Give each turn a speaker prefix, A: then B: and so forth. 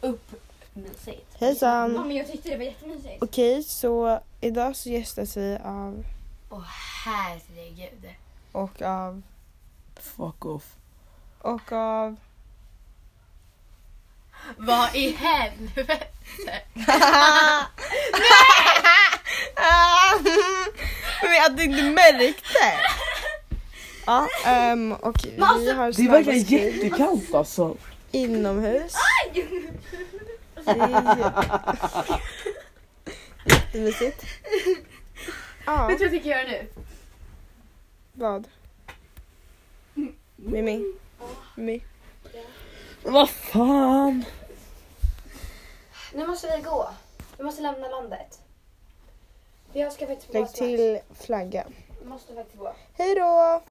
A: upp mysigt.
B: Hejsan!
C: Ja, men jag tyckte det var jättemysigt.
B: Okej, så idag så gästas vi av
A: Och herregud.
B: och av
D: Fuck off.
B: och av...
A: Vad i helvete?
B: Men att du inte märkte! Ja, um, och vi har
D: Det är verkligen
B: snabbskriv
D: jättekallt alltså.
B: inomhus. Det är ju- Jättemysigt. Ja,
C: Vet du vad jag tänker göra nu?
B: vad? Mimi? Mimi?
D: Vad fan.
C: Nu måste vi gå. Vi måste lämna landet. Jag ska faktiskt på
B: Lägg till flagga.
C: måste faktiskt gå.
B: Hej då!